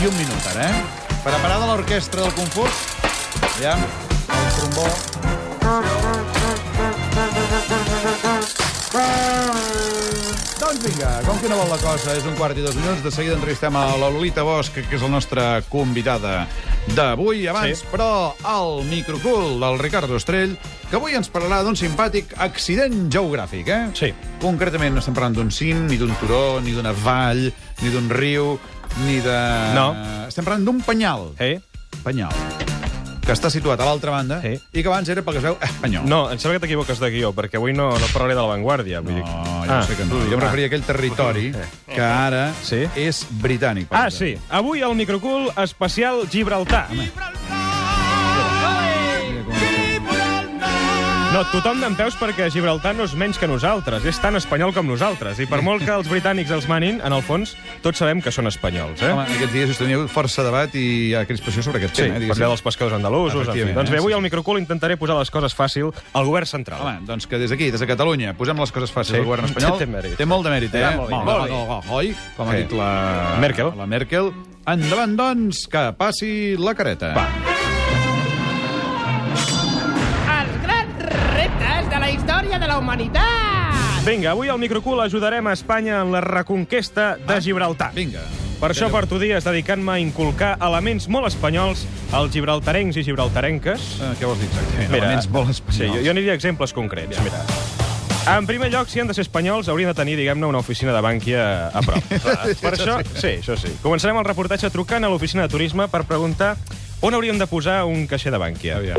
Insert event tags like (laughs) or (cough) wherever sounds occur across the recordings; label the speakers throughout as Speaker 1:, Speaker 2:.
Speaker 1: i un minut, ara, eh? Preparada l'orquestra del Confús? Aviam, el trombó... Doncs vinga, com que no vol la cosa, és un quart i dos minuts, de seguida entrevistem a la Lolita Bosch, que és la nostra convidada d'avui. Abans, sí. però, al microcul del Ricardo Estrell, que avui ens parlarà d'un simpàtic accident geogràfic, eh?
Speaker 2: Sí.
Speaker 1: Concretament no estem parlant d'un cim, ni d'un turó, ni d'una vall, ni d'un riu, ni de...
Speaker 2: No.
Speaker 1: Estem parlant d'un penyal.
Speaker 2: Eh?
Speaker 1: Penyal. Que està situat a l'altra banda
Speaker 2: Sí.
Speaker 1: i que abans era pel que es veu espanyol.
Speaker 2: No, em sembla que t'equivoques de guió, perquè avui no, no parlaré de l'avantguàrdia.
Speaker 1: No, jo ah, sé que no. Jo em referia a aquell territori que ara
Speaker 2: Sí.
Speaker 1: és britànic. per
Speaker 2: Ah,
Speaker 1: exemple.
Speaker 2: sí. Avui al microcul especial Gibraltar. No, tothom d'en peus perquè Gibraltar no és menys que nosaltres, és tan espanyol com nosaltres. I per molt que els britànics els manin, en el fons, tots sabem que són espanyols, eh?
Speaker 1: Home, aquests dies us teniu força debat i hi ha crispació sobre aquest
Speaker 2: Sí,
Speaker 1: tema. eh,
Speaker 2: per
Speaker 1: diguéssim.
Speaker 2: allà dels pescadors andalusos. En fi.
Speaker 1: Efectivament,
Speaker 2: Doncs
Speaker 1: eh,
Speaker 2: bé, avui
Speaker 1: sí.
Speaker 2: al microcul intentaré posar les coses fàcil al govern central.
Speaker 1: Home, doncs que des d'aquí, des de Catalunya, posem les coses fàcils
Speaker 2: Sí.
Speaker 1: al govern espanyol.
Speaker 2: Té mèrit.
Speaker 1: Té molt de mèrit, eh?
Speaker 2: Té molt de mèrit.
Speaker 1: Molt, molt, molt, oi? Com ha
Speaker 2: Sí.
Speaker 1: dit la...
Speaker 2: Merkel.
Speaker 1: La Merkel. Endavant, doncs, que passi la careta.
Speaker 2: Va.
Speaker 3: Els grans reptes de la història de la humanitat!
Speaker 2: Vinga, avui al microcul ajudarem a Espanya en la reconquesta de Gibraltar.
Speaker 1: Vinga.
Speaker 2: Per això porto dies dedicant-me a inculcar elements molt espanyols als gibraltarencs i gibraltarenques.
Speaker 1: Eh, què vols dir exactament? Elements molt espanyols.
Speaker 2: Sí, jo, jo aniria a exemples concrets. Ja. Mira. En primer lloc, si han de ser espanyols, haurien de tenir, diguem-ne, una oficina de bànquia a prop. per això, sí, això sí. Començarem el reportatge trucant a l'oficina de turisme per preguntar on hauríem de posar un caixer de bànquia.
Speaker 1: Aviam.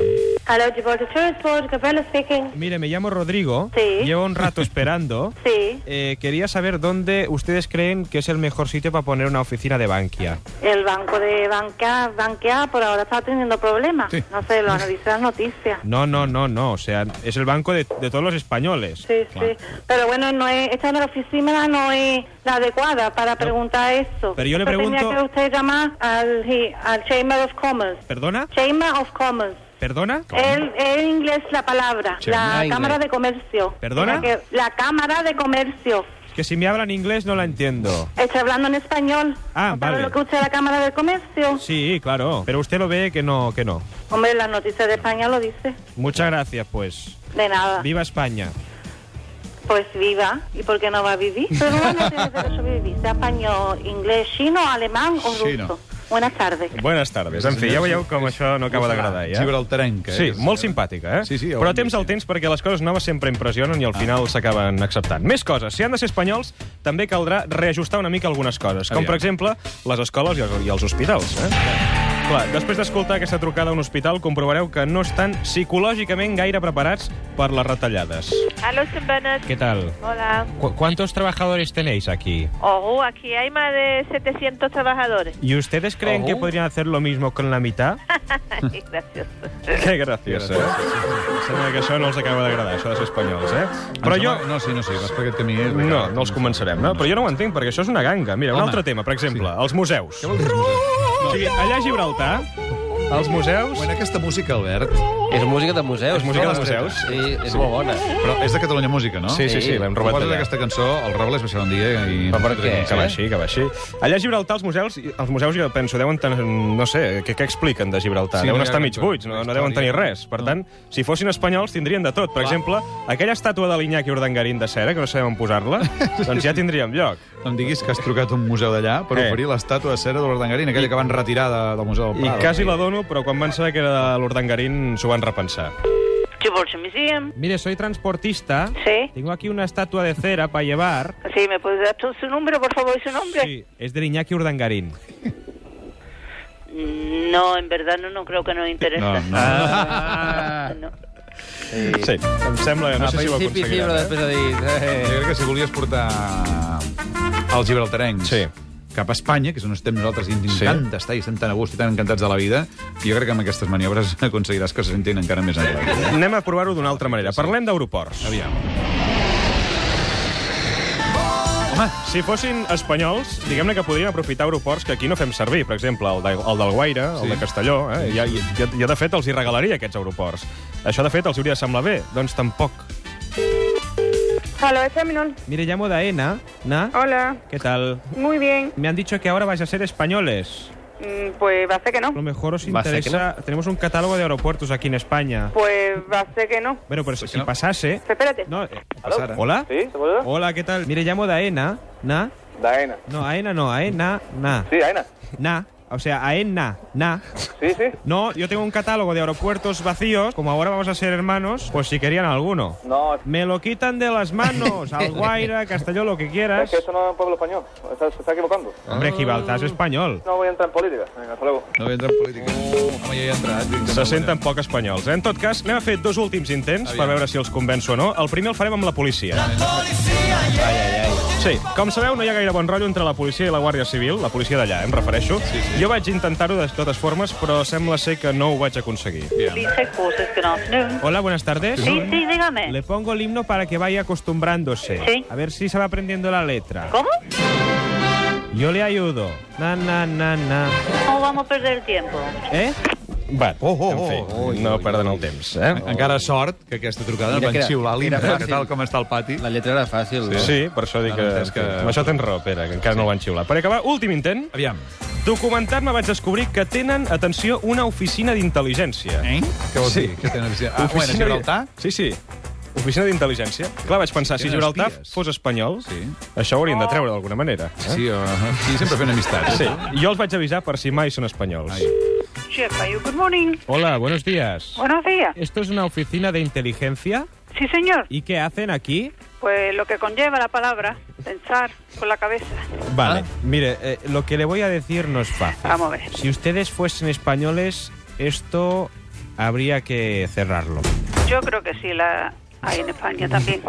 Speaker 4: Hello, Gibraltar Tourist Board, Gabriela speaking.
Speaker 2: Mire, me llamo Rodrigo.
Speaker 4: Sí.
Speaker 2: Llevo un rato esperando.
Speaker 4: Sí,
Speaker 2: Eh, quería saber dónde ustedes creen que es el mejor sitio para poner una oficina de Bankia.
Speaker 4: el banco de Banca, Bankia por ahora está teniendo problemas.
Speaker 1: Sí.
Speaker 4: No sé, lo han dicho las noticias.
Speaker 2: No, no, no, no. O sea, es el banco de, de todos los españoles.
Speaker 4: Sí,
Speaker 1: Claro.
Speaker 4: sí. Pero bueno, no es, esta no- oficina no es la adecuada para preguntar eso.
Speaker 2: Pero yo le
Speaker 4: Eso
Speaker 2: pregunto-
Speaker 4: Tenía que usted llamar al, hi- al Chamber of Commerce.
Speaker 2: ¿Perdona?
Speaker 4: Chamber of Commerce.
Speaker 2: ¿Perdona?
Speaker 4: En en inglés la palabra, la Cámara de Comercio.
Speaker 2: ¿Perdona?
Speaker 4: La, que- la Cámara de Comercio.
Speaker 2: Es que si me hablan inglés no la entiendo.
Speaker 4: Estoy hablando en español.
Speaker 2: Ah,
Speaker 4: ¿No sabe
Speaker 2: vale.
Speaker 4: lo que usted es la Cámara de Comercio?
Speaker 2: Sí, claro. Pero usted lo ve que no, que no.
Speaker 4: Hombre, las noticias de España lo dice.
Speaker 2: Muchas gracias, pues.
Speaker 4: De nada.
Speaker 2: Viva España.
Speaker 4: Pues viva. ¿Y por qué no va a vivir?
Speaker 2: (laughs)
Speaker 4: Pero bueno, tiene derecho a vivir. Sea español, inglés, chino, alemán o ruso.
Speaker 1: Chino.
Speaker 4: Buenas tardes.
Speaker 2: Buenas tardes. En fi, ja veieu com això no acaba d'agradar, ja.
Speaker 1: Gibraltarenca.
Speaker 2: Sí,
Speaker 1: és.
Speaker 2: molt simpàtica, eh?
Speaker 1: Sí, sí, Ah. ja ho
Speaker 2: Però
Speaker 1: hem
Speaker 2: temps
Speaker 1: vist,
Speaker 2: al temps perquè les coses noves sempre impressionen i al final s'acaben acceptant. Més coses. Si han de ser espanyols, també caldrà reajustar una mica algunes coses, com
Speaker 1: Aviam.
Speaker 2: per exemple les escoles i els, i els hospitals. Eh? Clar, després d'escoltar aquesta trucada a un hospital, comprovareu que no estan psicològicament gaire preparats per les retallades.
Speaker 5: Aló, Sembanas.
Speaker 2: Què tal?
Speaker 5: Hola.
Speaker 2: ¿Cuántos trabajadores tenéis aquí?
Speaker 5: Ojo, aquí hay más de 700 trabajadores.
Speaker 2: (laughs) ¿Y ustedes creen
Speaker 1: Oh.
Speaker 2: que podrían hacer lo mismo con la mitad?
Speaker 1: (laughs)
Speaker 5: Ay, gracioso.
Speaker 2: Que gracioso. eh? Sembla que això no els acaba d'agradar, això de ser espanyols, eh?
Speaker 1: Em
Speaker 2: Però jo...
Speaker 1: sembla- Doncs No, sí, no, sí, vas per aquest camí. eh,
Speaker 2: No,
Speaker 1: Ricardo.
Speaker 2: no els començarem, no? Però jo no ho entenc, perquè això és una ganga. Mira, un
Speaker 1: Home.
Speaker 2: altre tema, per exemple,
Speaker 1: Sí.
Speaker 2: els museus.
Speaker 1: Què vols dir?
Speaker 2: O sigui, allà a Gibraltar, els museus...
Speaker 1: Bueno, aquesta música, Albert,
Speaker 6: És música de museus.
Speaker 2: És música
Speaker 6: no?
Speaker 2: de museus.
Speaker 6: Sí, és molt bona.
Speaker 1: però és de Catalunya Música, no?
Speaker 2: Sí, sí, sí, l'hem robat
Speaker 1: Poses
Speaker 2: allà.
Speaker 1: aquesta cançó, el Robles baixarà un dia i...
Speaker 6: Però per què?
Speaker 2: Que va així, que va així. Allà a Gibraltar, els museus, els museus jo penso, deuen tenir, no sé, què, què expliquen de Gibraltar?
Speaker 1: Sí,
Speaker 2: Sí, deuen
Speaker 1: no hi ha cap
Speaker 2: estar mig buits, no, no deuen tenir
Speaker 1: història.
Speaker 2: res. Per tant, si fossin espanyols, tindrien de tot. Per exemple, aquella estàtua de l'Iñaki Urdangarín de cera, que no sabem on (laughs) posar-la, doncs ja tindríem lloc.
Speaker 1: No em diguis que has trucat a un museu d'allà per
Speaker 2: Eh.
Speaker 1: oferir l'estàtua de cera de l'Ordangarín, aquella que van retirar de, del Museu del
Speaker 2: I
Speaker 1: Prado.
Speaker 2: quasi la dono, però quan van saber que era de l'Urdangarín s'ho van repensar.
Speaker 4: Gibraltar Museum.
Speaker 2: Mire, soy transportista.
Speaker 4: Sí.
Speaker 2: Tengo aquí una estatua de cera para llevar.
Speaker 4: Sí, ¿me puede dar tu- su número, por favor, y su nombre?
Speaker 2: Sí, es de Iñaki Urdangarín.
Speaker 4: No, en verdad no, no creo que nos interese.
Speaker 1: No,
Speaker 4: (laughs)
Speaker 1: no.
Speaker 2: Ah.
Speaker 4: No.
Speaker 2: Sí, em sembla, no
Speaker 6: Al
Speaker 2: sé si ho
Speaker 6: principi sí, però
Speaker 2: aconseguiran. Eh?
Speaker 6: després ha dit...
Speaker 1: Jo crec que si volies portar els gibraltarencs
Speaker 2: Sí.
Speaker 1: cap a Espanya, que és on estem nosaltres i ens encanta estar i estem tan a gust i tan encantats de la vida, jo crec que amb aquestes maniobres (laughs) aconseguiràs que se sentin encara més enllà.
Speaker 2: Anem a provar-ho d'una altra manera. Parlem d'aeroports.
Speaker 1: Aviam. Home,
Speaker 2: Si fossin espanyols, diguem-ne que podríem aprofitar aeroports que aquí no fem servir. Per exemple, el, de, el del Guaire,
Speaker 1: Sí.
Speaker 2: el de Castelló. Eh? Ja, ja, ja, de fet, els hi regalaria aquests aeroports. Això, de fet, els hauria de semblar bé. Doncs tampoc.
Speaker 7: Hola, Seminol.
Speaker 2: Mire, llamo Daena. Na,
Speaker 7: Hola.
Speaker 2: què tal?
Speaker 7: Muy bien.
Speaker 2: Me han dicho que ahora vais a ser españoles.
Speaker 7: Mm, Pues va a ser que no.
Speaker 2: Lo mejor os
Speaker 6: Va a ser que
Speaker 2: interesa... Tenemos un catálogo de aeropuertos aquí en España.
Speaker 7: Pues va a ser que no.
Speaker 2: Bueno,
Speaker 8: Pues
Speaker 2: pero si
Speaker 1: no.
Speaker 2: pasase...
Speaker 7: Espérate.
Speaker 2: No, eh,
Speaker 1: Passarà.
Speaker 2: ¿Hola?
Speaker 8: ¿Sí? ¿Se puede?
Speaker 2: Hola, ¿qué tal? Mire, llamo de AENA. ¿Na?
Speaker 8: Daena.
Speaker 2: No, AENA no, AENA, na.
Speaker 8: Sí, Daena.
Speaker 2: Na. O sea, AENA, na.
Speaker 8: Sí, sí.
Speaker 2: No, yo tengo un catálogo de aeropuertos vacíos. Como ahora vamos a ser hermanos, pues si querían alguno.
Speaker 8: No, es
Speaker 2: Me lo quitan de las
Speaker 8: (laughs)
Speaker 2: manos. Alguaira, Castelló, lo que quieras.
Speaker 8: que eso no es un pueblo español. Está- se está equivocando.
Speaker 2: Hombre, Gibraltar es español.
Speaker 8: No voy a entrar en política. Venga, hasta luego.
Speaker 1: No entra en política. Home, ja hi ha entrat.
Speaker 2: Se senten poc espanyols. eh? En tot cas, anem a fer dos últims intents per
Speaker 1: Aviam.
Speaker 2: veure si els convenço o no. El primer el farem amb la policia. Sí, com sabeu, no hi ha gaire bon rotllo entre la policia i la Guàrdia Civil, la policia d'allà, eh, em refereixo. Jo vaig intentar-ho de totes formes, pero sembla ser que no ho vaig aconseguir.
Speaker 4: Dice cosas que no son.
Speaker 2: Hola, buenas tardes.
Speaker 4: Sí, sí, dígame.
Speaker 2: Le pongo el himno para que vaya acostumbrándose.
Speaker 4: Sí.
Speaker 2: A ver si se va aprendiendo la letra.
Speaker 4: ¿Cómo?
Speaker 2: Yo le ayudo. Na, na, na, na.
Speaker 4: ¿Cómo vamos a perder el tiempo?
Speaker 2: Eh? Va,
Speaker 1: Oh, oh,
Speaker 2: en fi,
Speaker 1: oh, oi,
Speaker 2: no
Speaker 1: oi,
Speaker 2: perden
Speaker 1: oi.
Speaker 2: el temps, eh?
Speaker 1: Encara sort que aquesta trucada
Speaker 6: Mira
Speaker 1: van
Speaker 6: que era-
Speaker 1: xiular l'himne,
Speaker 6: era fàcil.
Speaker 1: eh, que tal com està el pati.
Speaker 6: La lletra era fàcil. no?
Speaker 2: Sí, per això dic
Speaker 1: Ara
Speaker 2: que...
Speaker 1: entens que-
Speaker 2: Amb Això tens raó, Pere, que encara no ho van xiular. Per acabar, últim intent.
Speaker 1: Aviam.
Speaker 2: Documentant-me vaig descobrir que tenen, atenció, una oficina d'intel·ligència.
Speaker 1: Eh? Què vol
Speaker 2: Sí.
Speaker 1: dir? Què tenen oficina? Ah, bueno,
Speaker 2: d'in-
Speaker 1: Gibraltar?
Speaker 2: Sí, sí. Oficina d'intel·ligència. Clar, vaig pensar, si
Speaker 1: Tenen
Speaker 2: Gibraltar
Speaker 1: espies.
Speaker 2: fos espanyol,
Speaker 1: Sí.
Speaker 2: això ho haurien de treure d'alguna manera. Eh?
Speaker 1: Sí, o... sí, sempre fent amistats.
Speaker 2: Sí. Jo els vaig avisar per si mai són espanyols.
Speaker 1: Ai.
Speaker 7: Chefa, you good morning.
Speaker 2: Hola, buenos días.
Speaker 7: Buenos días.
Speaker 2: ¿Esto es una oficina de inteligencia?
Speaker 7: Sí, señor.
Speaker 2: ¿Y qué hacen aquí?
Speaker 7: Pues lo que conlleva la palabra, pensar con la cabeza.
Speaker 2: Vale, mire, eh, lo que le voy a decir no es fácil.
Speaker 7: Vamos a ver.
Speaker 2: Si ustedes fuesen españoles, esto habría que cerrarlo.
Speaker 7: Yo creo que sí la hay en España también.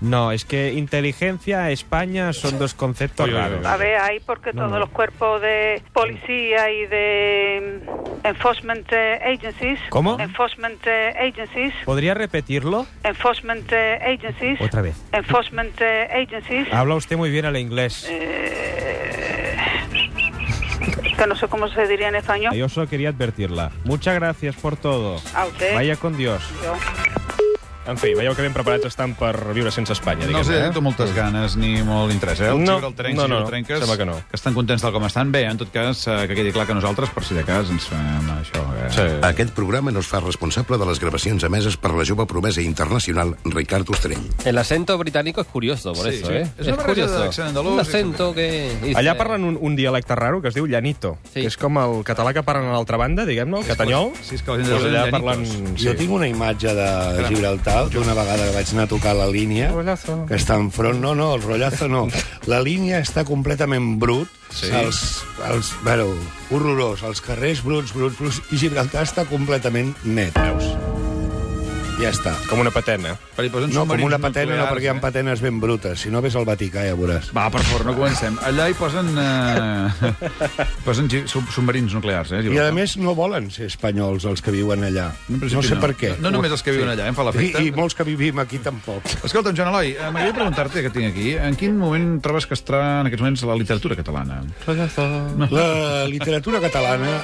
Speaker 2: No, es que inteligencia, España son dos conceptos
Speaker 1: Oye, oye,
Speaker 2: raros.
Speaker 7: A ver, hay porque
Speaker 2: No,
Speaker 7: todos
Speaker 2: no.
Speaker 7: los cuerpos de policía y de mm, enforcement eh, agencies.
Speaker 2: ¿Cómo?
Speaker 7: Enforcement eh, agencies.
Speaker 2: ¿Podría repetirlo?
Speaker 7: Enforcement eh, agencies.
Speaker 2: Otra vez. Ah.
Speaker 7: Enforcement eh, agencies. Eh,
Speaker 2: Habla usted muy bien el inglés.
Speaker 7: Que no sé cómo se diría en español.
Speaker 2: Yo solo quería advertirla. Muchas gracias por todo.
Speaker 7: A usted.
Speaker 2: Vaya con Dios.
Speaker 7: Yo.
Speaker 2: En fi, veieu que ben preparats estan per viure sense Espanya,
Speaker 1: No
Speaker 2: diguem
Speaker 1: els he
Speaker 9: eh?
Speaker 1: dit moltes ganes ni molt interès, eh? Els
Speaker 2: No,
Speaker 1: gibraltarencs
Speaker 2: no,
Speaker 1: i
Speaker 2: no,
Speaker 1: gibraltarenques
Speaker 2: sembla que no.
Speaker 1: que estan contents del com estan. Bé, en tot cas, eh, que quedi clar que nosaltres, per si de cas, ens fem això. Eh?
Speaker 2: Sí.
Speaker 10: Aquest programa no es fa responsable de les gravacions emeses per la jove promesa internacional Ricard Ostrell.
Speaker 6: El acento británico es curioso, por
Speaker 1: Sí,
Speaker 6: eso,
Speaker 1: sí.
Speaker 6: ¿eh?
Speaker 1: Es una barreja de accent andalús,
Speaker 6: Un acento que... dice-
Speaker 2: Allà parlen un, un dialecte raro que es diu llanito,
Speaker 6: Sí.
Speaker 2: que és com el català que parlen a l'altra banda, diguem-ne, el catanyol.
Speaker 1: Sí, és que la gent
Speaker 2: Doncs
Speaker 1: diu
Speaker 2: allà
Speaker 1: llanitos.
Speaker 2: parlen...
Speaker 9: Sí. Jo tinc una imatge de Gibraltar d'una vegada que vaig anar a tocar la línia
Speaker 2: Rotllazo.
Speaker 9: que està enfront... No, no, el rotllazo no. La línia està completament brut.
Speaker 1: Sí.
Speaker 9: Els, els, bueno, horrorós. Els carrers bruts, bruts, bruts. I Gibraltar està completament net. Veus? Ja està.
Speaker 2: Com una patena.
Speaker 1: Per hi posen
Speaker 9: No, com
Speaker 1: Doncs submarins
Speaker 9: una patena, no,
Speaker 1: nuclears,
Speaker 9: perquè hi ha
Speaker 1: eh?
Speaker 9: patenes ben brutes. Si no, ves al Vaticà, ja veuràs.
Speaker 1: Va, per favor, no comencem. Allà hi posen...
Speaker 9: (laughs)
Speaker 1: Eh, posen gi- sub- submarins nuclears, eh?
Speaker 9: I, a
Speaker 1: Gibraltar.
Speaker 9: més, no volen ser espanyols els que viuen allà.
Speaker 1: En
Speaker 9: No,
Speaker 1: principi
Speaker 9: sé
Speaker 1: no.
Speaker 9: per què.
Speaker 1: No només els que viuen allà, eh, em fa
Speaker 9: I,
Speaker 1: l'efecte.
Speaker 9: I molts que vivim aquí tampoc.
Speaker 1: (laughs) Escolta'm, Joan Eloi, eh, m'agradaria preguntar-te, que tinc aquí, en quin moment trobes que està en aquests moments la literatura catalana?
Speaker 9: La literatura catalana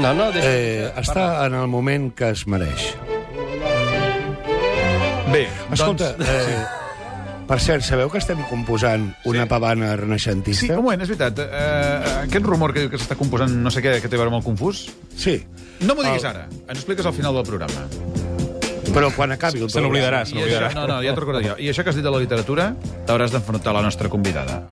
Speaker 6: No, no, deixa...
Speaker 9: eh, està en el moment que es mereix.
Speaker 1: Bé, (laughs)
Speaker 9: Escolta,
Speaker 1: doncs...
Speaker 9: eh, per cert, sabeu que estem composant una
Speaker 1: Sí.
Speaker 9: pavana
Speaker 1: Sí,
Speaker 9: renaixentista?
Speaker 1: un moment, és veritat. Eh, aquest rumor que diu que s'està composant no sé què, que té a veure molt confús,
Speaker 9: Sí,
Speaker 1: no m'ho diguis ara. Ens ho expliques al final del programa.
Speaker 9: però quan acabi el
Speaker 2: Se n'oblidarà, se
Speaker 1: I això,
Speaker 2: n'oblidarà.
Speaker 1: no, no, ja t'ho recordo jo. I això que has dit de la literatura, t'hauràs d'enfrontar a la nostra convidada.